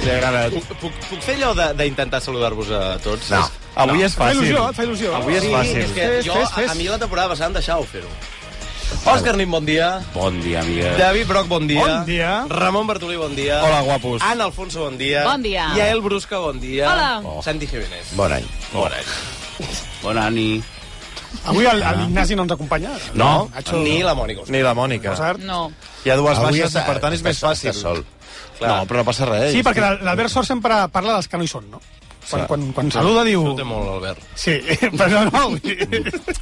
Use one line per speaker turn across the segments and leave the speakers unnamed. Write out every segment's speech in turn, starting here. Li ha agradat.
Puc, puc, puc fer allò de- d'intentar saludar-vos a tots?
No. Avui
No.
és fàcil.
Fa il·lusió, et fa
Ah,
il·lusió.
Avui és
Sí,
fàcil.
és que
Fes,
jo,
fes,
a-
fes.
A, mi la temporada passada em deixava fer-ho. Òscar Nin, bon dia.
Bon dia, amiga.
David Broc, bon dia.
Bon dia.
Ramon Bartolí, bon dia.
Hola, guapos.
Anna Alfonso, bon dia.
Bon dia.
Yael Brusca, bon dia.
Hola.
Oh. Santi Jiménez.
Bon any.
Bon any.
Bon any.
Avui el- el l'Ignasi no ens acompanya.
No,
Ni la Mònica.
Ni la Mònica.
Sort.
No.
Hi ha dues
Avui
baixes,
està-
per tant és més
està-
fàcil.
està sol.
Clar.
No, però no passa res.
Sí, perquè l'Al- l'Albert Sort sempre parla dels que no hi són, no? Quan, quan, quan saluda diu...
Ho té molt, Albert.
Sí, però no, no.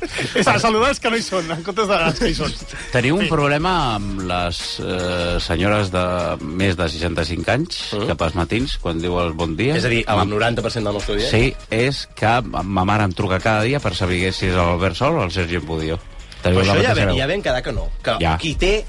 És a saludar els que no hi són, en comptes de els que hi són.
Teniu un problema amb les eh, senyores de més de 65 anys,
Mm.
que pels matins, quan diu el bon dia...
És a dir,
Ma-
el 90% del nostre dia.
Sí, és que ma mare em truca cada dia per saber si és l'Albert Sol o el Sergi Empudio.
Però
Teniu la
això ja
mateixa
vam,
veu.
ja vam quedar que no. Que ja.
Ja.
qui té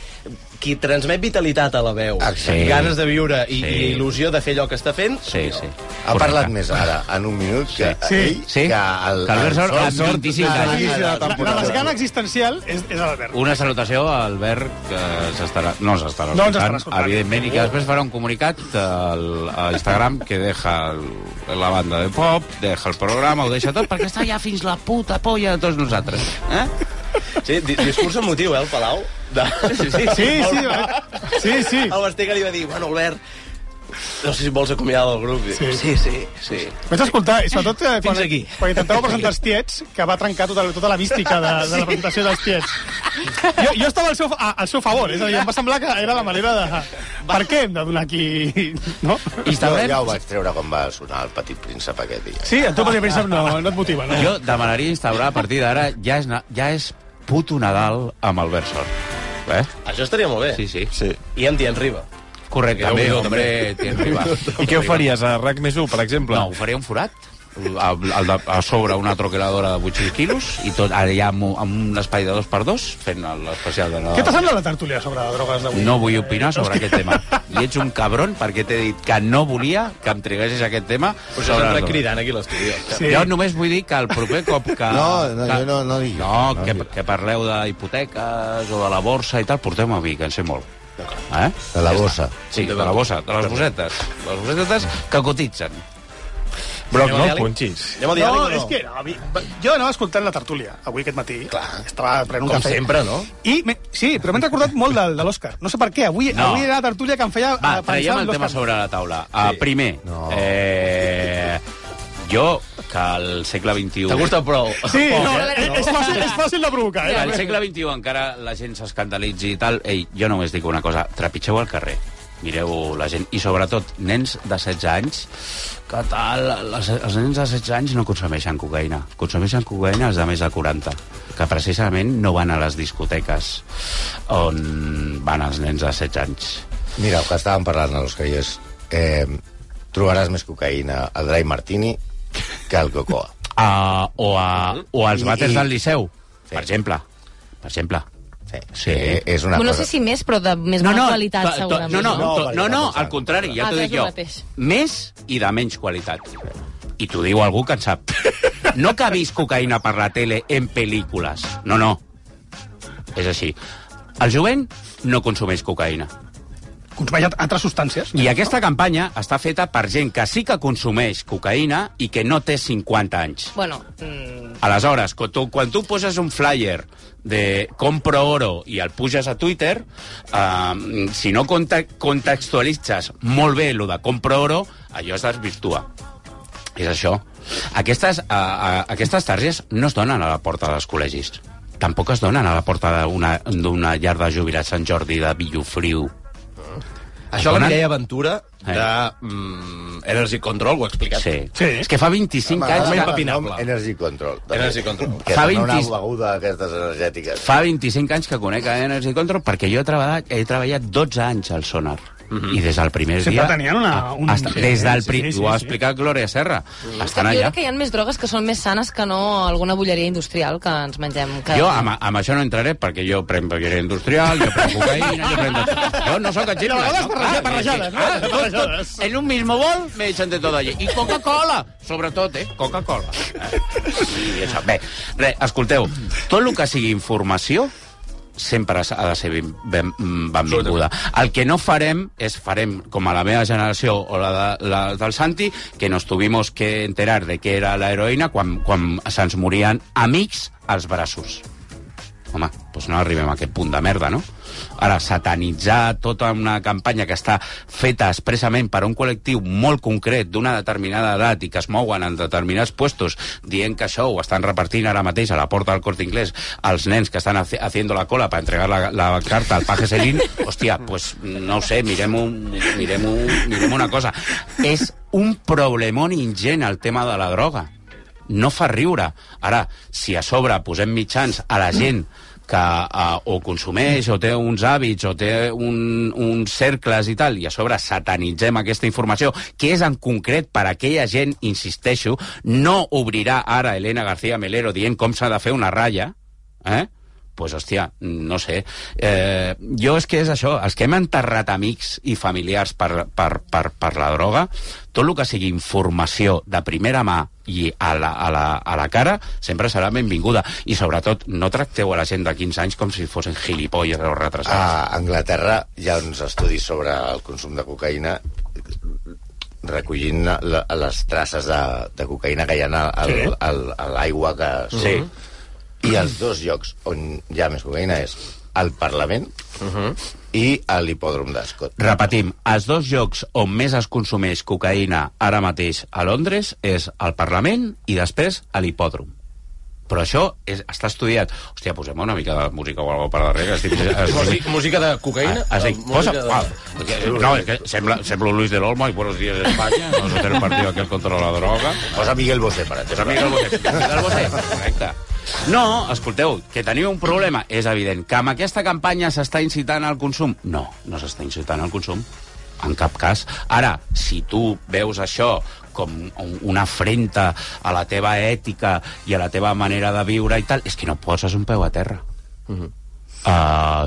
qui transmet vitalitat a la veu,
Exacte.
ganes de viure i,
Sí.
i il·lusió de fer allò que està fent...
Sí, sí.
Ha parlat més ara, en un minut, que
Sí.
ell,
Sí.
que el...
Que Albert Sort, amb
Sort
25
de
anys.
l'inici de la
La, la
temporada.
desgana existencial és, és l'Albert.
Una salutació a Albert, que s'estarà... No s'estarà
No ens estarà escoltant.
evidentment, i que després farà un comunicat al, a Instagram que deja el, la banda de pop, deja el programa, ho deixa tot, perquè està ja fins la puta polla de tots nosaltres. Eh?
sí di- discurs emotiu, eh, el Palau? De... Sí, sí,
Sí, sí, sí, sí.
El Bastega li va dir, bueno, Albert, no sé si vols acomiadar del grup. Sí, sí, sí. sí.
Vaig escoltar, i sobretot eh, quan,
Fins aquí.
quan intentava presentar els tiets, que va trencar tota, tota la mística de, de la presentació dels tiets. Jo, jo estava al seu, a, al seu favor, és a dir, em va semblar que era la manera de... Per què hem de donar aquí... No?
I
Jo
també,
ja ho vaig treure quan va sonar el petit príncep aquest dia.
Sí, a tu perquè príncep no, no et motiva, no?
jo demanaria instaurar a partir d'ara, ja és, na- ja és puto Nadal amb Albert Sort. Eh?
Això estaria molt bé.
Sí, sí.
Sí.
I amb Tien Riba.
Correcte. També,
Déu,
hombre, tien riba.
I què ho faries a RAC més 1, per exemple?
No, ho faré un forat a, al de, a sobre una troqueladora de 800 quilos i tot allà amb, un- amb un espai de dos per dos fent l'especial de
Què t'ha
Nadal.
semblat la tertúlia sobre drogues d'avui?
No vull opinar sobre aquest tema. I ets un cabron perquè t'he dit que no volia que em triguessis aquest tema.
Però això
sobre
s'entra
les drogues.
cridant aquí a l'estudi.
Sí.
Jo només vull dir que el proper cop que...
No, no,
que,
jo no- no dic.
No,
No
que,
dic.
que parleu de hipoteques o de la borsa i tal, porteu-me a mi, que en sé molt. Eh?
De la bossa.
Sí, de la bossa, de les bossetes. De les bossetes que cotitzen.
Broc, no
Anem al
el punxis.
Anem al diàleg
No,
o
és que no, a mi, jo anava escoltant la tertúlia avui aquest matí. Clar. Estava prenent un
Com
cafè.
sempre, no?
I me, sí, però m'he recordat molt de, de l'Òscar. No sé per què. Avui,
No.
avui era la tertúlia que em feia eh,
Va,
pensar
traiem el
en l'Òscar.
tema sobre la taula. Uh, primer, eh, jo, que al segle XXI...
T'ha gustat prou.
Sí, no,
eh?
eh, és, fàcil, és fàcil de provocar,
Que
eh?
al segle XXI encara la gent s'escandalitzi i tal. Ei, jo només dic una cosa, trepitgeu al carrer. Mireu la gent, i sobretot nens de 16 anys, que tal, les, els nens de 16 anys no consumeixen cocaïna. Consumeixen cocaïna els de més de 40, que precisament no van a les discoteques on van els nens de 16 anys.
Mira, el que estàvem parlant a l'Òscar i és... Eh, trobaràs més cocaïna al Dry Martini que al Cocoa.
a, o, a, o als
I-
vàters
i-
del Liceu,
Sí.
per exemple. Per exemple.
Sí.
Sí.
Eh, és una
Bueno, no
cosa...
sé si més, però de més bona qualitat,
to- to-
segurament.
no, no,
No,
to- no, no,
qualitat,
al contrari, ja
Ah,
t'ho
que
dic
és el
jo.
mateix.
Més i de menys qualitat. I t'ho diu algú que en sap. No que ha vist cocaïna per la tele en pel·lícules. No, no. És així. El jovent no consumeix cocaïna.
Consumeix altres substàncies.
I aquesta campanya està feta per gent que sí que consumeix cocaïna i que no té 50 anys.
Bueno, mm,
Aleshores, quan tu, quan tu poses un flyer de compro oro i el puges a Twitter, eh, si no conte contextualitzes molt bé el de compro oro, allò es desvirtua. És això. Aquestes, a, a, aquestes targes no es donen a la porta dels col·legis. Tampoc es donen a la porta d'una d'una llar de jubilats Sant Jordi de Villofriu.
Això la
Donen?
Mireia Ventura,
Eh.
de... Mm, Energy Control, ho he explicat.
Sí.
Sí.
És que fa 25 anys...
home,
que-
home,
Nom,
impepinable.
Energy Control. també.
Energy Control.
Que
Fa
dona una
20
beguda d'aquestes energètiques.
Fa 25 anys que conec a Energy Control perquè jo he treballat, he treballat 12 anys al Sonar. I des del primer
Sempre
dia...
tenien una- un-
Hasta,
sí,
des del
sí,
pri...
sí, sí,
ho ha
sí.
explicat Gloria Serra. Estan
Jo
allà.
crec que hi ha més drogues que són més sanes que no alguna bulleria industrial que ens mengem. Que...
Jo amb, amb això no entraré perquè jo prenc beguera industrial, jo prenc cocaïna, jo prenc... tot. Jo no sóc
I de
agent.
vegades
no?
barreja-
Ah,
barrejades, no?
ah, tot, tot.
Barrejades.
En un mismo bol me echan de tot allà. I Coca-Cola, sobretot, eh? Coca-Cola. Eh? I això. Bé, re, escolteu, tot el que sigui informació sempre ha de ser ben, ben, benvinguda. El que no farem és, farem com a la meva generació o la, de, la del Santi, que nos tuvimos que enterar de què era la heroïna quan, quan se'ns morien amics als braços. Home, doncs no arribem a aquest punt de merda, no? Ara, satanitzar tota una campanya que està feta expressament per a un col·lectiu molt concret d'una determinada edat i que es mouen en determinats puestos dient que això ho estan repartint ara mateix a la porta del Corte Inglés als nens que estan haci- haciendo la cola per entregar la, la carta al paje Selín, hòstia, pues no ho sé, mirem, un, mirem, un, mirem una cosa. És un problemón ingent el tema de la droga no fa riure. Ara, si a sobre posem mitjans a la gent que uh, o consumeix o té uns hàbits o té un, uns cercles i tal, i a sobre satanitzem aquesta informació, que és en concret per a aquella gent, insisteixo, no obrirà ara Elena García Melero dient com s'ha de fer una ratlla, eh? pues, hòstia, no sé. Eh, jo és que és això, els que hem enterrat amics i familiars per, per, per, per la droga, tot el que sigui informació de primera mà i a la, a, la, a la cara sempre serà benvinguda. I sobretot, no tracteu a la gent de 15 anys com si fossin gilipolles o retrasats.
A Anglaterra hi ha uns estudis sobre el consum de cocaïna recollint la, les traces de, de cocaïna que hi ha al, al, al, a l'aigua que...
Sí.
I els dos llocs on hi ha més cocaïna és al Parlament i a l'hipòdrom d'Escot.
Repetim, els dos llocs on més es consumeix cocaïna ara mateix a Londres és al Parlament i després a l'hipòdrom. Però això és, està estudiat. Hòstia, posem una mica de música o alguna cosa per darrere. Estic, estic,
Música, música de cocaïna?
Ah, sí, posa,
Música de-
ah, que- no, es que sembla, sembla Luis del Olmo y Buenos Días España, no sé el partido aquel contra la droga.
Posa Miguel Bosé, per
Pues
exemple.
amiga del Bosé. Amiga del Bosé, correcte. No, escolteu, que teniu un problema, és evident. Que amb aquesta campanya s'està incitant al consum? No, no s'està incitant al consum, en cap cas. Ara, si tu veus això com un- una afrenta a la teva ètica i a la teva manera de viure i tal, és que no poses un peu a terra. Uh,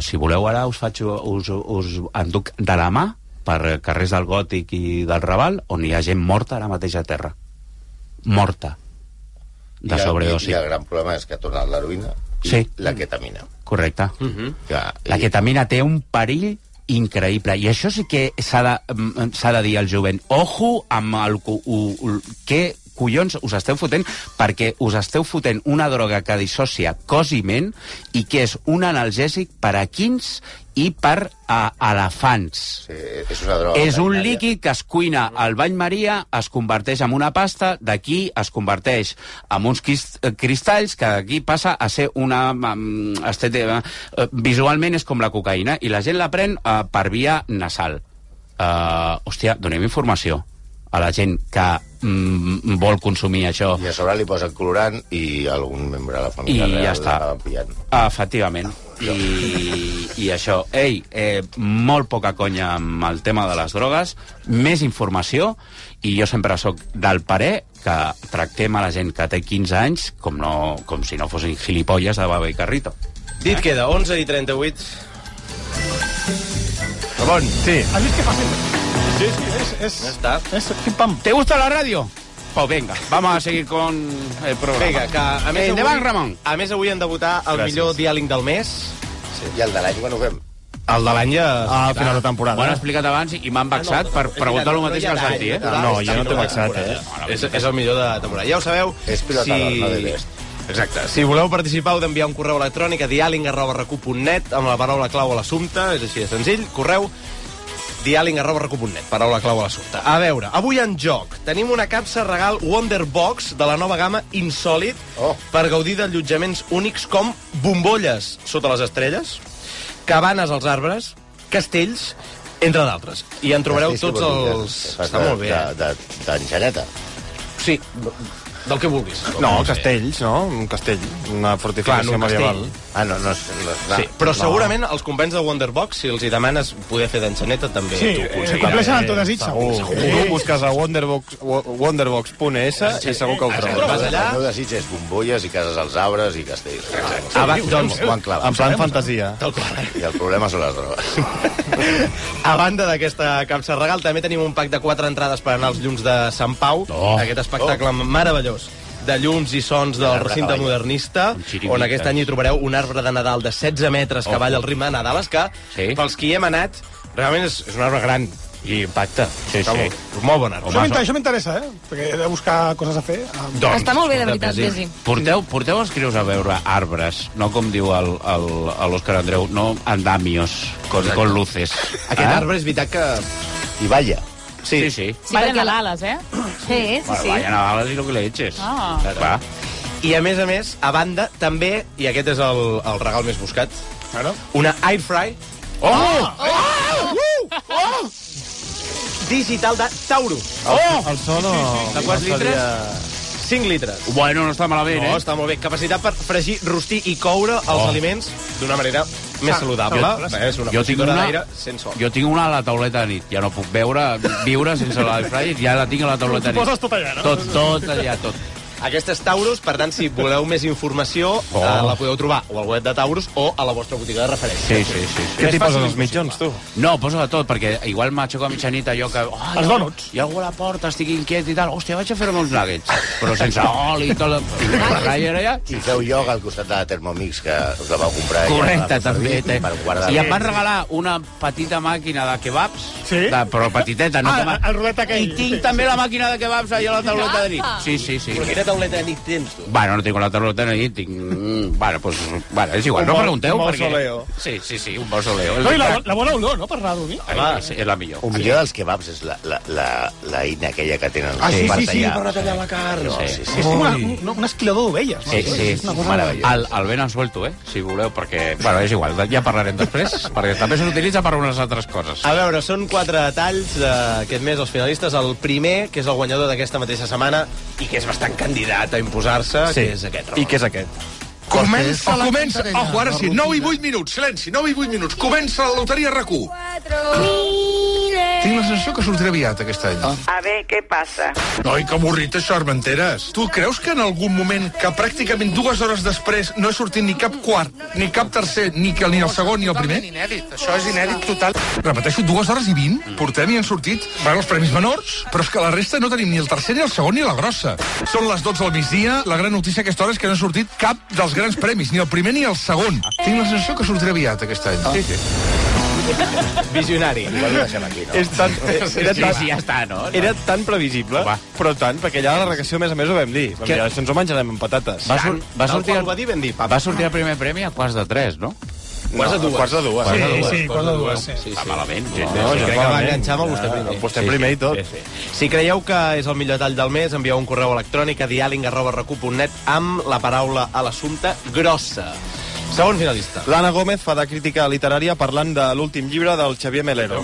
si voleu ara us faig us, us enduc de la mà per carrers del Gòtic i del Raval on hi ha gent morta ara mateix a terra morta de
I el-
sobredosi
I el gran problema és que ha tornat l'heroïna i
Sí.
la ketamina.
correcte
Que,
la ketamina té un perill increïble i això sí que s'ha de, mm, s'ha de dir al jovent ojo amb el cu- u- u- què collons us esteu fotent perquè us esteu fotent una droga que dissocia cos i ment i que és un analgèsic per a quins i per a elefants
Sí, és una droga.
és un
veterinària.
líquid que es cuina al bany maria, es converteix en una pasta, d'aquí es converteix en uns quist- eh, cristalls que d'aquí passa a ser una... mm, estete- eh, Visualment és com la cocaïna i la gent la pren eh, per via nasal. Uh, hòstia, donem informació a la gent que mm, vol consumir
Oh.
això.
I a sobre li posen colorant i algun membre de la
I
família real
ja està.
l'acaben pillant.
Efectivament. I, I això. Ei, eh, molt poca conya amb el tema de les drogues, més informació, i jo sempre sóc del parer que tractem a la gent que té 15 anys com, no, com si no fossin gilipolles de baba i carrito.
Dit queda, 11 i 38.
Ramon. Sí. Has vist que fàcil? Sí, sí, és... és...
Ja està.
És pim-pam.
¿Te gusta la radio? Pues venga, vamos a seguir con el programa.
Vinga, que a més,
Endavant, Ramon.
a més avui hem de votar el
Gràcies.
millor diàling del mes.
I el de l'any quan ho fem?
El de l'any ja...
Ah,
Ah,
A Ah, final de temporada. eh?
Bueno, explicat abans i m'han vexat per preguntar el mateix que el Santi, eh?
Ah, No, jo no t'he vexat, eh?
És, és el millor de la temporada. Ja ho sabeu.
És pilotador, no de best.
Exacte. Si voleu participar, heu d'enviar un correu electrònic a dialing.recu.net amb la paraula clau a l'assumpte. És així de senzill. Correu dialing.recu.net, paraula clau a l'assumpte. A veure, avui en joc tenim una capsa regal Wonderbox de la nova gamma Insòlid
Oh.
per gaudir d'allotjaments únics com bombolles sota les estrelles, cabanes als arbres, castells Entre d'altres. I en trobareu
Estàs
tots
disponible,
els...
que fas
Està
de-
molt bé, eh?
de- de- D'enxaneta.
Sí, del que vulguis.
No,
Del que vulguis, eh?
castells, no? Un castell, una
Clar,
fortificació
en un castell.
medieval.
Ah, no, no, és- no, és- clar.
Sí, però
No.
segurament els companys de Wonderbox, si els hi demanes poder fer d'enxaneta, també
Sí,
t'ho
eh,
aconseguiran.
compleixen amb tot desig, segur.
Segur. Tu
Sí.
Oh. busques a Wonderbox, wo- wonderbox.es
Ah,
i segur que ho
Vas
trobes.
allà-
El meu desig és bombolles i cases als arbres i castells.
Ah, va, doncs,
Ho han clavat.
En plan fantasia.
Tal qual.
I el problema són les drogues.
A banda d'aquesta capsa regal, també tenim un pack de quatre entrades per anar als llums de Sant Pau,
Oh.
aquest espectacle meravellós de llums i sons del
Arbre
recinte
cavall.
modernista,
Amb xirivites.
on aquest any hi trobareu un arbre de Nadal de 16 metres que
Oh.
balla al ritme de Nadal, és que
Sí.
pels qui hi hem anat, realment és, és un arbre gran i impacta.
Sí,
Està
sí.
Molt, molt bon arbre.
Això m'inter- Això m'interessa, eh? Perquè he de buscar coses a fer. eh, amb-
Doncs,
Està molt bé, de
escolta,
veritat, Desi.
Porteu, porteu els crios a veure arbres, no com diu el- el- a l'Òscar Andreu, no andamios, con, con luces.
Aquest
Ah?
arbre és veritat que...
I balla.
Sí, sí.
Sí, Valen a l'ales, eh?
Sí, sí,
Bueno,
sí.
vayan a balas y lo que le eches.
Ah.
Va.
I a més a més, a banda, també, i aquest és el, el regal més buscat,
Claro.
una air fry
Oh! oh!
digital de Tauro. Oh!
El sol no...
De quants litres? 5 litres.
Bueno, no està malament,
No,
eh?
està molt bé. Capacitat per fregir, rostir i coure els aliments d'una manera més saludable. Eh, És una
Jo tinc
fregidora
una-
d'aire sense sol.
Jo tinc una a la tauleta de nit, ja no puc veure, viure sense la fryer, ja la tinc a la tauleta de nit.
Poses tot allà, no?
Tot, tot allà, tot.
Aquestes Taurus, per tant, si voleu més informació, oh. eh, la podeu trobar o al web de Taurus o a la vostra botiga de referència.
Sí, sí, sí. sí.
Què
És
t'hi
fàcil
poses els
impossible.
mitjons, tu?
No, posa de tot, perquè igual m'aixeco a mitjanit allò que... Oh,
Els dònuts.
Hi ha algú a la porta, estic inquiet i tal. Hòstia, vaig a fer-me uns nuggets. Però sense oli i tot. La... I la fryer allà...
I feu ioga al costat de la Thermomix, que us la vau comprar. i la
Correcte,
vau
també.
servir
Té.
Per
eh.
guardar
I em van regalar una petita màquina de kebabs,
Sí?
de, però petiteta, no
Ah,
com a-
el rodet aquell.
I tinc també la màquina de kebabs allà a la tauleta de nit. Sí, sí, sí.
Però quina tauleta de nit tens, tu?
Bueno, no tinc la tauleta de nit, tinc... mm, Bueno, pues, bueno, és igual,
Un
no
mau-
pregunteu.
un
perquè-
mausoleo.
Sí, sí, sí, un mausoleo.
No, i la, la bona olor, no?, per anar a dormir.
Ah, sí, és la millor.
El millor dels kebabs és la, la, la, la eina aquella que tenen
Ah, sí,
per
sí, sí,
tallar.
per anar a tallar la carn.
No, sí, sí.
És com una, un, un esquilador d'ovelles. No?
Sí, sí,
És una cosa
meravellós.
El, el ben ensuelto, eh? Si voleu, perquè... Bueno, és igual, ja parlarem després, perquè també s'utilitza per unes altres coses.
A veure, són quatre talls eh, aquest mes, els finalistes. El primer, que és el guanyador d'aquesta mateixa setmana i que és bastant candidat a imposar-se, sí. que és aquest.
I què és aquest?
Comença la comença, ojo, ara sí, 9 i 8 minuts, silenci, 9 i 8 minuts. Comença la loteria rac Tinc la sensació que sortirà aviat aquest any.
A veure què passa.
Noi, que avorrit això, Armenteres. Tu creus que en algun moment, que pràcticament dues hores després no he sortit ni cap quart, ni cap tercer, ni, que, ni el segon ni el primer?
Inèdit, això és inèdit total.
Repeteixo, dues hores i vint, portem i han sortit van els premis menors, però és que la resta no tenim ni el tercer, ni el segon, ni la grossa. Són les 12 del migdia, la gran notícia a aquesta hora és que no ha sortit cap dels grans premis, ni el primer ni el segon. Tinc la sensació que sortirà aviat aquest any. Sí, sí.
Visionari.
Igual ho deixem aquí, no?
És tan, eh, era,
Sí,
tan,
sí, ja està, no?
era tan previsible,
Va.
però tant, perquè allà a la regació, a més a més, ho vam dir. Vam
Que-
dir, "Ah, això ens ho menjarem amb patates.
Va, sur va,
Tal
sortir
qual ho
el,
va dir, ben dit.
va sortir el primer premi a quarts de tres, no?
Quarts de dues.
Quarts de dues.
Sí, sí, cosa dues, sí.
Sí,
Està
sí.
malament.
No,
Sí,
ja
crec
fa
que va
malament.
enganxar amb el vostè
Ja,
primer.
Vostè Ah, primer i tot.
Sí, sí.
Si creieu que és el millor tall del mes, envieu un correu electrònic a dialing.recu.net amb la paraula a l'assumpte grossa. Segon finalista.
L'Anna Gómez fa de crítica literària parlant de l'últim llibre del Xavier Melero.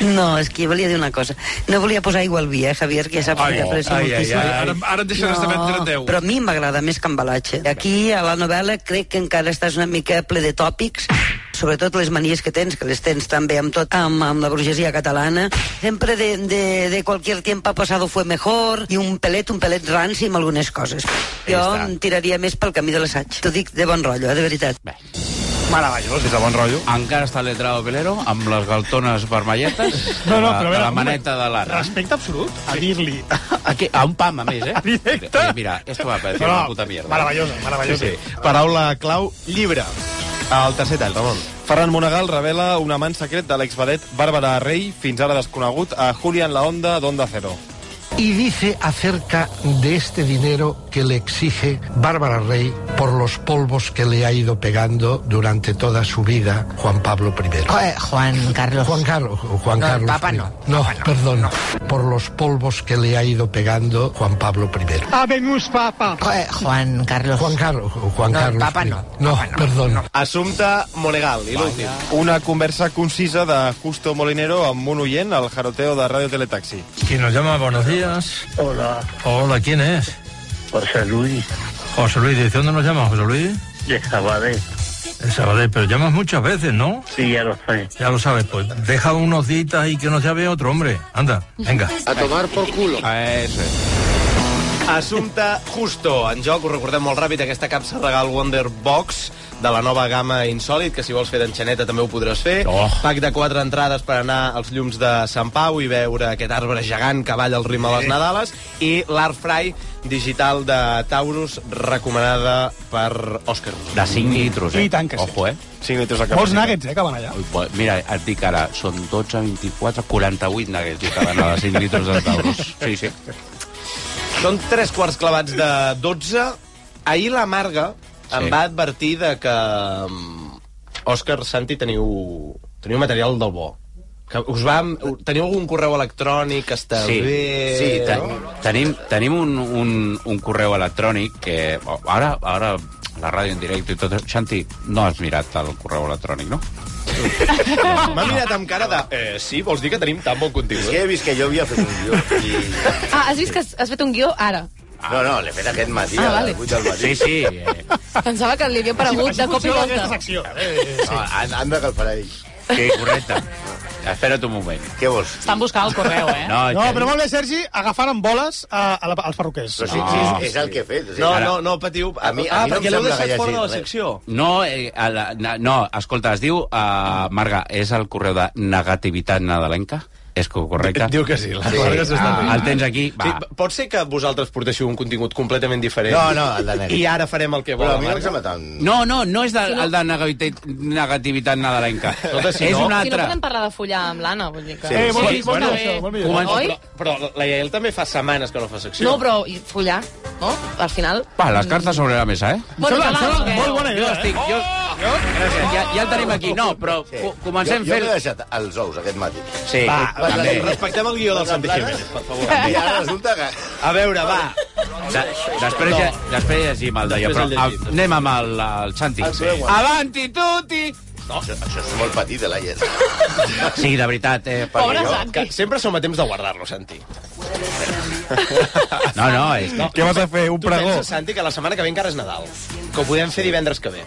No, és que volia dir una cosa. No volia posar aigua al vi, eh, Javier, que ja saps que t'aprecio moltíssim.
Ara, ara em deixaràs no. de vendre 10.
però a mi m'agrada més que embalatge. Aquí, a la novel·la, crec que encara estàs una mica ple de tòpics, sobretot les manies que tens, que les tens també amb tot, amb, amb la burgesia catalana. Sempre de, de, de qualsevol tiempo pasado fue mejor, i un pelet, un pelet ranci amb algunes coses. Jo em tiraria més pel camí de l'assaig. T'ho dic de bon rotllo, eh, de veritat.
Bé,
Meravellós, és de bon rotllo.
encara està letrado Pelero amb les galtones vermelletes
No, no,
de la-
però a
de
veure,
la
un
maneta de l'Anna.
Respecte absolut a dir-li.
Aquí, a un pam, a més, eh?
Directe.
Oye, Mira, esto va a parecer una puta mierda.
Meravellosa, meravellosa.
Sí. Paraula clau, llibre. El tercer tall, Ramon.
Ferran Monagal revela un amant secret de l'exvedet Bàrbara Rey, fins ara desconegut, a Julián La Onda d'Onda Cero.
y dice acerca de este dinero
que le exige Bárbara Rey por los polvos que le ha ido pegando durante toda su vida Juan Pablo I.
Eh, Juan Carlos.
Juan Carlos. Juan
No, el
Carlos
Papa
I.
no.
No, perdón. Por los polvos que le ha ido pegando Juan Pablo I.
Habemus Papa. Eh, Juan Carlos.
Juan Carlos. Juan
No, el
Carlos.
Papa
I.
no.
No, perdón.
Assumpta Monegal, i l'últim.
Una conversa concisa de Justo Molinero amb un oient al jaroteo de Radio Teletaxi.
Quien nos llama, buenos días. Hola. Hola, ¿quién es? José Luis. José Luis, ¿de dónde nos llamas, José Luis? De Sabadell. De Eh, Sabadell, pero llamas muchas veces, ¿no? Sí, ya lo sé. Ya lo sabes, pues deja unos días y que nos llame otro, hombre. Anda, venga.
A tomar por culo. Eso es. Assumpta Justo, en joc, us recordem molt ràpid aquesta capsa regal Wonder Box de la nova gamma Insòlid, que si vols fer d'enxaneta també ho podràs fer. Oh. Pack de quatre entrades per anar als llums de Sant Pau i veure aquest arbre gegant que balla el ritme a les Nadales i l'Art Fry digital de Taurus recomanada per Òscar.
De 5 litros, eh?
I tant que sí.
Ojo, eh?
5 litros de
Molts nuggets, eh, que van allà.
Ui, Mira, et dic ara, són 12, 24, 48 nuggets i cada nada, 5 litros de tauros. Sí, sí.
Són tres quarts clavats de 12. Ahir la Marga sí. em
Sí.
va advertir de que... mm, Òscar, Santi, teniu, teniu material del bo. Que us va, teniu algun correu electrònic que està
sí,
bé...
Sí, te,
no?
tenim, tenim un, un, un correu electrònic que... Ara, ara la ràdio en directe i tot això... Xanti, no has mirat el correu electrònic, no?
M'ha mirat amb cara de... Eh, sí, vols dir que tenim tan bon contingut? És
que he vist que jo havia fet un guió. I...
Ah, has vist que has, has fet un guió ara?
No, no, l'he fet aquest matí, ah,
Ah,
a
vale.
les 8 del matí.
Sí, sí. eh.
Pensava que li havia aparegut de cop i volta.
No, han, han de que el farà ell.
Ah, Sí, correcte. Espera't un moment.
Què vols?
Estan buscant el correu, eh?
No,
No, però molt bé, Sergi, agafant amb boles a, a la, als perruquers.
Però sí, sí, és, és el que he fet. O sigui,
No,
ara-
no, no, patiu.
A mi- a
ah,
mi no em
perquè
sembla
l'heu
que
deixat
hi hagi
fora de la
res.
secció.
No, eh, a la, na, no, escolta, es diu, uh, Marga, és el correu de negativitat nadalenca? És co- correcte?
Diu que sí, la Marga s'està fent.
ah, El tens aquí? Va.
Sí, pot ser que vosaltres portéssiu un contingut completament diferent.
No, no, el de negre.
I ara farem el que vol
Però
la
a mi no em
Marga.
sembla No, no, no és de, el de negativitat, negativitat nadalenca.
Escolta, si
és
no-
un
Si no
altre.
podem parlar de follar amb l'Anna, vull dir que...
Eh,
Comença,
Oi?
però, però la Yael també fa setmanes que no fa secció.
No, però i follar, no? Al final...
Va, les cartes sobre la mesa, eh?
Bueno, que va, que-
Jo estic... Jo, jo, ja, ja el tenim aquí. No, però co- comencem
jo, jo
fent...
m'he deixat els ous aquest matí.
Sí, Ah,
Va,
Va,
també.
també.
respectem el guió del Santi
Planes?
Jiménez, per favor.
I ara resulta que...
A veure, va.
De, després, ja, després llegim el d'allò, però
Després el
a, anem amb el, el Santi.
El seu, eh?
Avanti, tutti!
No, això, això és molt petit, la llet.
Sí, de veritat, eh, perquè jo-
Que sempre som a temps de guardar-lo, Santi.
No, no, és... No.
Què vas a fer, un
Tu
pregó?
penses, Santi, que la setmana que ve encara és Nadal. Que ho podem fer divendres que ve.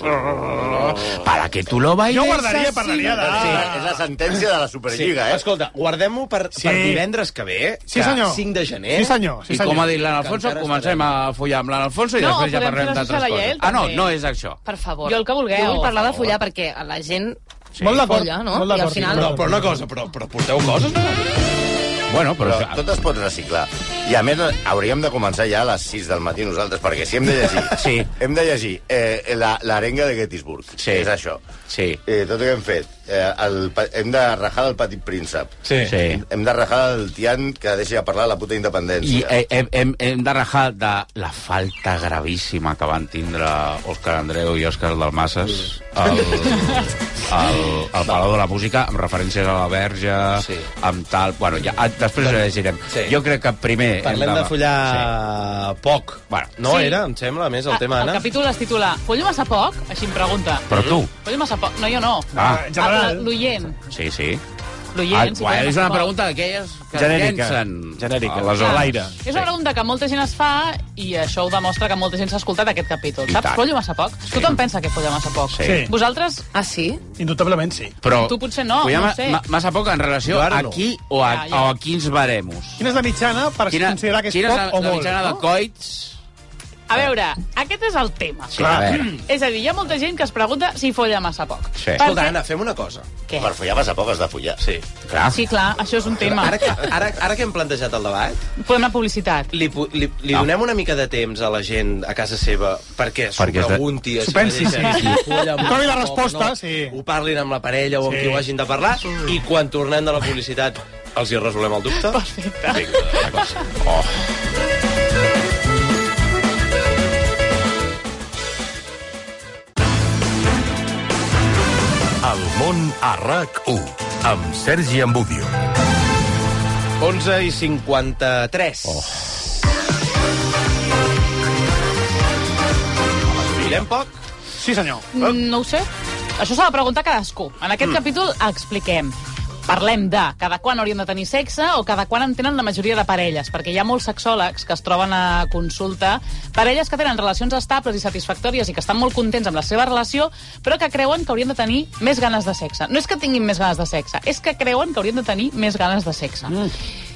Para que tu lo bailes...
Jo guardaria, parlaria de...
Sí, és la sentència de la Superliga, eh?
Escolta, guardem-ho per, sí. per divendres que ve,
Sí,
que
senyor.
5 de gener.
Sí, senyor,
I
sí,
com ha dit l'Alfonso,
Que encara
comencem a follar amb l'Alfonso i
No,
després ja
podem
parlem
fer la
d'altres
social a
coses.
Yael,
ah, no,
també.
no és això.
Per favor.
Jo el que vulgueu,
Jo vull parlar
per
de follar perquè a la gent sí.
Molt d'acord,
folla, no?
molt
I al
d'acord,
final...
Però, però una cosa, però, però porteu coses?
Bueno,
Però
però...
tot es pot reciclar. I a més, hauríem de començar ja a les 6 del matí nosaltres, perquè si hem de llegir...
Sí.
Hem de llegir eh, la- l'arenga de Gettysburg,
Sí.
és això.
Sí,
Eh, tot el que hem fet. Eh, el, pa- hem de rajar del petit príncep.
sí. sí.
Hem de rajar el tian que deixi de parlar de la puta
I
independència.
eh, hem, hem, hem de rajar de la falta gravíssima que van tindre Òscar Andreu i Òscar Dalmases al, al, al Palau de la Música, amb referències a la verge,
Sí.
sí. amb tal... Bueno, ja, ah, després ho llegirem.
Sí.
Sí. Jo crec que primer... hem
Parlem de follar poc.
Bueno,
No
Sí.
era, em sembla, a més, el tema,
Ah,
Anna?
El capítol es titula Follo massa poc? Així em pregunta.
Però tu...
Follo massa poc? No, jo no.
Ah,
Ah,
general.
però L'oient.
sí, sí. Ah,
L'oient. si
bueno, és
follo massa
una
poc.
pregunta d'aquelles que
Genèrica.
es llencen.
Genèrica.
Aleshores,
Ah. L'aire.
És una pregunta que molta gent es fa i això ho demostra que molta gent s'ha escoltat aquest capítol.
I
Saps?
tant.
Follo massa poc? Sí. Tothom pensa que follo massa poc.
Sí.
Sí.
Vosaltres,
Ah, sí?
Indubtablement sí.
Però,
tu potser no,
Follar
no
ma-
sé.
ma- massa poc en relació
Jo
a
ara no.
aquí o a,
Ja, ja.
o a quins baremos.
Quina és la mitjana per considerar que és
quina
poc
és la,
o
la
molt?
mitjana de
no?
coits?
A veure, aquest és el tema.
Sí, a veure.
És a dir, hi ha molta gent que es pregunta si folla massa poc.
Sí.
Perquè-
Escolta, Anna, fem una cosa.
Què?
Per follar vas a poc has de follar.
Sí.
Clar.
Sí, clar, això és un tema.
Ara que, ara, ara que hem plantejat el debat,
Podem anar a publicitat.
li, pu- li, li
No.
donem una mica de temps a la gent a casa seva perquè s'ho
Perquè és de-
pregunti.
S'ho pensi, sí, sí. Trobi la resposta,
no,
sí.
Ho parlin amb la parella o amb
Sí.
qui ho hagin de parlar i quan tornem de la publicitat els hi resolem el dubte. Perfecte. Vinga, d'acord.
món a RAC1, amb Sergi Ambudio.
11 i 53. ah. Oh. Mirem poc?
Sí, senyor.
Mm, No ho sé. Això s'ha de preguntar cadascú. En aquest
Mm.
mm. capítol expliquem. Parlem de cada quan haurien de tenir sexe o cada quan en tenen la majoria de parelles, perquè hi ha molts sexòlegs que es troben a consulta, parelles que tenen relacions estables i satisfactòries i que estan molt contents amb la seva relació, però que creuen que haurien de tenir més ganes de sexe. No és que tinguin més ganes de sexe, és que creuen que haurien de tenir més ganes de sexe.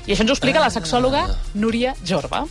I això ens ho explica la sexòloga Núria Jorba.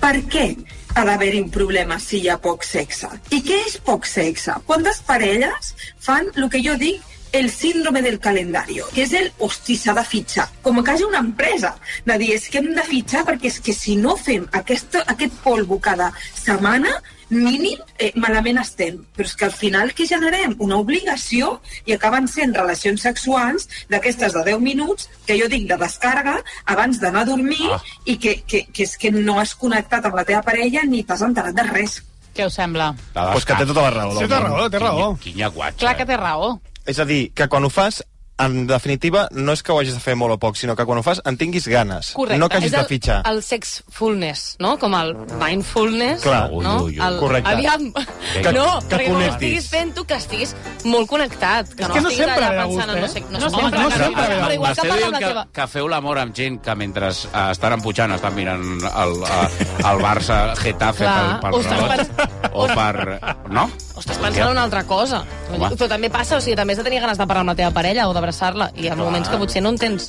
Per què ha d'haver-hi un problema si hi ha poc sexe? I què és poc sexe? Quantes parelles fan el que jo dic el síndrome del calendario, que és el hosti, s'ha de fitxar. Com que hi ha una empresa de dir, és que hem de fitxar perquè és que si no fem aquest, aquest polvo cada setmana, mínim, eh, malament estem. Però és que al final que generem una obligació i acaben sent relacions sexuals d'aquestes de 10 minuts, que jo dic de descàrrega, abans d'anar a dormir ah. i que, que, que és que no has connectat amb la teva parella ni t'has enterat de res.
Què us sembla?
Pues que té tota la raó.
Sí, té raó, té raó.
Quinya guatxa.
eh?
Clar que té raó.
És a dir, que quan ho fas, en definitiva, no és que ho hagis de fer molt o poc, sinó que quan ho fas en tinguis ganes.
Correcte.
No que hagis
és el,
de fitxar.
el sexfulness, no? Com el mindfulness.
Clar.
no?
Ui, ui, ui. Correcte.
Aviam,
Que-
no,
que
perquè quan ho
connectis.
estiguis fent tu, que estiguis molt connectat. Que
És
no,
que no
estiguis
sempre
allà
ve de
pensant en
gust,
no sé...
eh?
No,
No,
sé,
home,
sempre,
no
que-
sempre ve de
Però igual que
M'està
parla amb
dient
la
que,
teva...
que feu l'amor amb gent que mentre uh, estan empujant estan mirant el, uh, el Barça Getafe
Clar,
pel,
o
pel
estàs
rebot. O per... No?
Estàs pensant en una altra cosa.
Home.
Però també passa, o sigui, també has de tenir ganes de parlar amb la teva parella o d'abraçar-la, i en moments que potser no en tens.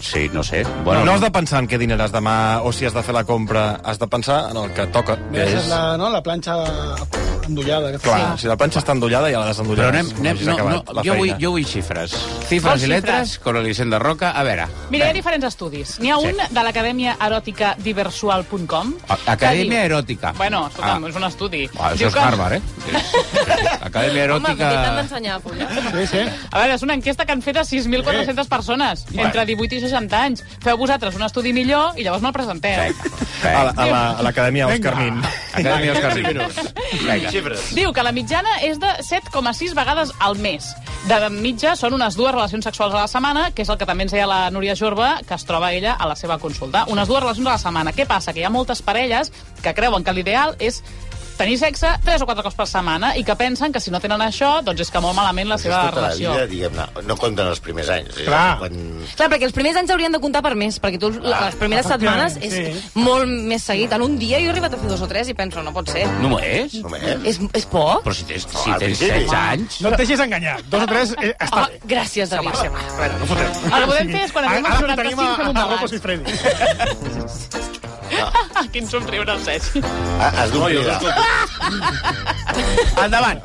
Sí, no sé.
Bueno,
Bueno,
no has de pensar en què dinaràs demà o si has de fer la compra. Has de pensar en el que toca.
Mira, esa és la, no, la planxa endollada. Que
Clar, si la planxa està endollada, ja la desendollaràs.
Però anem, anem,
Hagis
no, no,
acabat la
jo, vull,
feina.
jo vull xifres.
Vols
Xifres i
xifres?
letres, con Elisenda Roca. A veure,
Mira, hi ha diferents estudis. N'hi ha
Sí.
un de l'Acadèmia Eròtica Diversual.com.
Acadèmia Eròtica.
Bueno, escolta'm,
Ah.
ah. és un estudi.
Ah, això
Diu
és Harvard, eh? Acadèmia
Home, que
Eròtica...
t'han d'ensenyar a follar.
Sí, sí.
A veure, és una enquesta que han fet a 6.400 persones, entre 18 i 60 anys. Feu vosaltres un estudi millor i llavors me'l presenteu.
A la- a la- a l'Acadèmia Òscar Min.
Acadèmia Òscar Min.
Vinga.
Diu que la mitjana és de 7,6 vegades al mes. De mitja són unes dues relacions sexuals a la setmana, que és el que també ens deia la Núria Jorba, que es troba ella a la seva consulta. Unes dues relacions a la setmana. Què passa? Que hi ha moltes parelles que creuen que l'ideal és tenir sexe tres o quatre cops per setmana i que pensen que si no tenen això, doncs és que molt malament la
És
seva
tota la
relació.
vida, diguem-ne, no compten els primers anys. És
Clar.
Quan...
Clar, perquè els primers anys haurien de comptar per més, perquè tu
Ah,
les primeres
Efectivament,
setmanes és molt més seguit. En un dia jo he arribat a fer dos o tres i penso, no pot ser.
No és?
eh?
És, és poc?
Però si tens, si
al
tens
principi.
16 anys...
No et deixis enganyar. Dos o tres, eh, està
Home, Ah, gràcies, David.
El que podem Ah, fer és, quan arribem als
Ah, Ara que tenim
95, fem un
a, a
balanç.
Rocos i Freddy.
Quin somriure el Sergi.
Ah, Has
No, jo
d'oblidar.
Endavant.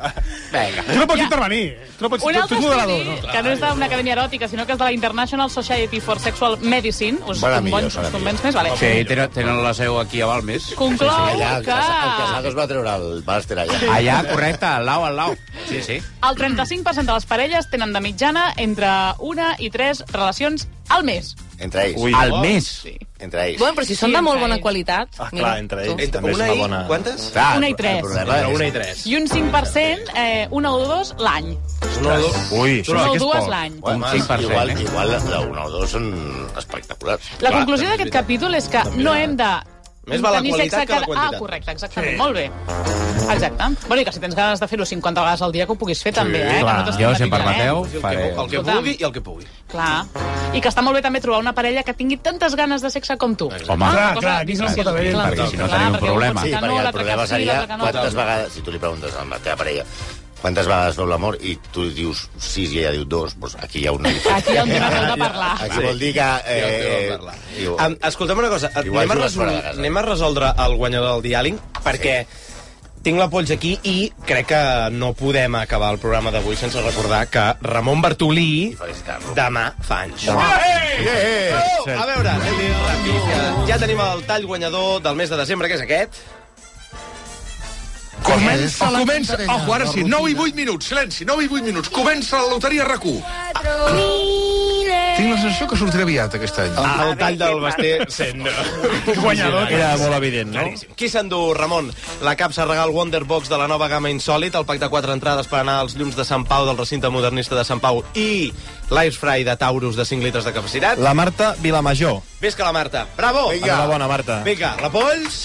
Vinga.
Tu no pots intervenir. Tu no pots...
Un
tu, tu
altre
ets moderador.
estudi, que no és d'una acadèmia eròtica, sinó que és de la International Society for Sexual Medicine. Us
Bona millor,
convenç,
bona
us convenç més? Vale.
Sí, tenen, tenen la seu aquí a Balmes.
Conclou
allà, el
que-
Casa- El Casados va treure el màster allà.
Ah,
Allà, correcte, al lau, al lau. Sí, sí.
El 35% de les parelles tenen de mitjana entre una i tres relacions al mes.
Entre ells.
Ui, Al oh. mes?
Sí. Entre ells.
Bueno, però si són
Sí,
de molt
entre
bona
ells.
qualitat... mira.
entre
ells
Entre també és una una i- bona-
Quantes?
Una i tres.
Entre una i
tres.
I un 5%, eh, una o dos l'any.
Ui,
això
Són
sí que
el
és
dues
poc.
l'any.
Home,
Un 5%,
Igual,
eh?
igual la 1 o 2 són espectaculars.
La conclusió d'aquest capítol és que no hem de
Més val la
tenir
qualitat
sexe
que la
cada-
quantitat.
Ah, correcte, exactament, molt bé. Exacte. Bueno, i que si tens ganes de fer-ho 50 vegades al dia, que ho puguis fer també, eh?
clar.
que no t'estigui
Jo, si em
patint,
permeteu,
eh?
faré...
El que vulgui
i el que pugui.
Clar. I que està molt bé també trobar una parella que tingui tantes ganes de sexe com tu.
Home.
Ah,
Clar,
una cosa
clar,
de
aquí se n'ho
difícil,
pot haver
clar.
perquè si no tenim un
perquè
problema.
un
Sí,
que
perquè
no,
el
l'altre
problema
que sí,
seria
l'altre que no.
quantes vegades, si tu li preguntes a la teva parella, quantes vegades veu l'amor i tu dius sis i ella diu dos, doncs aquí hi ha una diferència.
Aquí hi ha un tema molt de parlar.
Aquí vol dir que... Eh, diu,
Em, escolta'm una cosa,
Igual
anem a,
jugues
resol...
fora de casa.
anem a resoldre el guanyador del diàling, perquè tinc la polls aquí i crec que no podem acabar el programa d'avui sense recordar que Ramon Bartolí demà fa anys.
Demà.
Eh, eh, eh. A veure, anem ràpid, ja tenim el tall guanyador del mes de desembre, que és aquest.
Comença,
la
comença...
loteria,
Ojo, ara
la
sí, 9 i 8 minuts, silenci, 9 i 8 minuts. Comença la loteria RAC1.
Mira.
Ah. Tinc la sensació que sortirà aviat aquest any.
Ah, el tall del Basté sent guanyador.
Era molt evident, no?
Claríssim. Qui s'endú, Ramon? La capsa regal Wonderbox de la nova gamma Insòlit, el pack de quatre entrades per anar als llums de Sant Pau del recinte modernista de Sant Pau i l'air fry de Taurus de 5 litres de capacitat.
La Marta Vilamajor.
Ves que la Marta. Bravo!
Vinga. Enhorabona, Marta.
Vinga, la Polls.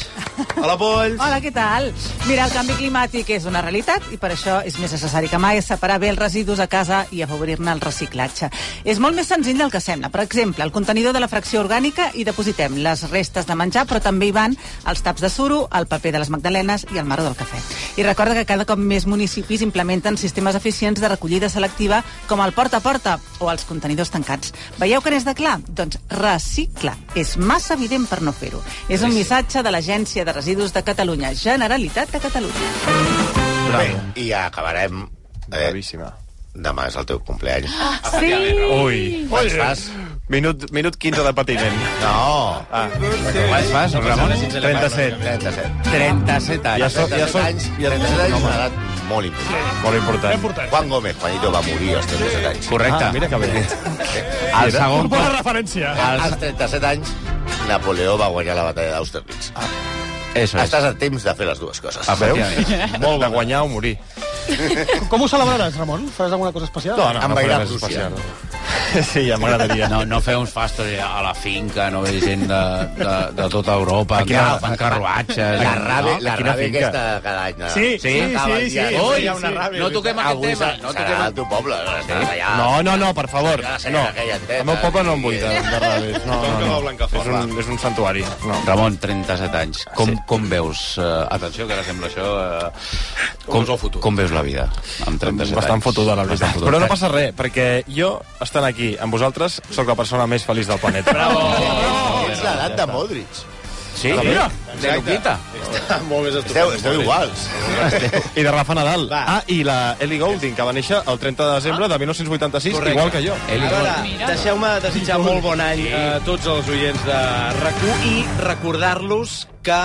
Hola, Polls.
Hola, què tal? Mira, el canvi climàtic és una realitat i per això és més necessari que mai separar bé els residus a casa i afavorir-ne el reciclatge. És molt més senzill del que sembla. Per exemple, el contenidor de la fracció orgànica hi depositem les restes de menjar, però també hi van els taps de suro, el paper de les magdalenes i el marro del cafè. I recorda que cada cop més municipis implementen sistemes eficients de recollida selectiva com el porta a porta o els contenidors tancats. Veieu que n'és de clar? Doncs recicla. És massa evident per no fer-ho. És un missatge de l'Agència de Residus de Catalunya, Generalitat de Catalunya.
Bé, i ja acabarem... Eh, Demà és el teu cumpleaños.
Sí!
Ui.
Quants fas?
Minut, minut 15 de patiment.
No.
Ah.
Quants fas, Ramon?
37.
37.
37 anys. Ja so, ja so,
37 anys,
ja
37 anys és una edat molt important.
Molt important.
Juan Gómez, Juanito, va morir als 37 anys.
Correcte. Ah, mira que bé.
Al segon...
Bona referència.
Als 37 anys, Napoleó va guanyar la batalla d'Austerlitz. Ah.
Eso
Estàs a temps de fer les dues coses.
A Ah, veus? Molt de guanyar o morir.
Com ho celebraràs, Ramon? Faràs alguna cosa especial?
Envairar
faré res
Prússia.
especial. Sí, ja m'agradaria.
No, no feu uns fastos a la finca, no veig gent de, de, de tota Europa,
Aquí no.
que fan carruatges...
La rave,
no?
la
Quina
rave
finca?
aquesta de cada any.
eh? Sí, sí, sí, sí, sí, hi ha una rave. No toquem aquest
Avui
tema,
se-
no
serà
toquem-
al teu poble, estàs allà.
No, no, no, per favor. No.
eh,
El meu poble no em vull de, de rabes. No, no,
Toca la
no. És
Blancafort,
un, és un santuari. No.
Ramon, 37 anys. Com, Ah, sí. com veus... Uh, atenció, que ara sembla això... Uh, com, com, veus com veus la vida amb 37 anys?
Bastant fotuda, la veritat.
Bastant fotuda.
Però no passa res, perquè jo, estant aquí amb vosaltres, sóc la persona més feliç del planeta. Oh,
És l'edat de Modric.
Sí, mira.
Exacte.
Està molt més
Esteu, esteu iguals.
I de Rafa Nadal. Ah, i la Ellie Goulding, que va néixer el 30 de desembre de 1986,
Correcte.
igual que jo.
A veure, deixeu-me desitjar molt bon any eh, a tots els oients de rac i recordar-los que,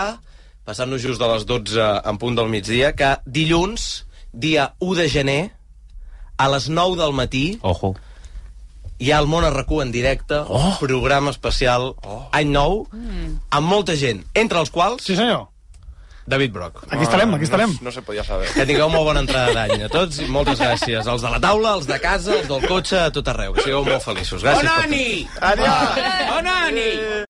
passant-nos just de les 12 en punt del migdia, que dilluns, dia 1 de gener, a les 9 del matí,
Ojo.
hi ha el món a rac en directe, oh. programa especial oh. Any Nou, amb molta gent, entre els quals...
Sí, senyor.
David Brock.
Aquí estarem, aquí estarem.
No, no se podia saber.
Que tingueu molt bona entrada d'any a tots i moltes gràcies. Els de la taula, els de casa, els del cotxe, a tot arreu. Que sigueu molt feliços. Gràcies. per tot.
Onani! Adiós! Onani!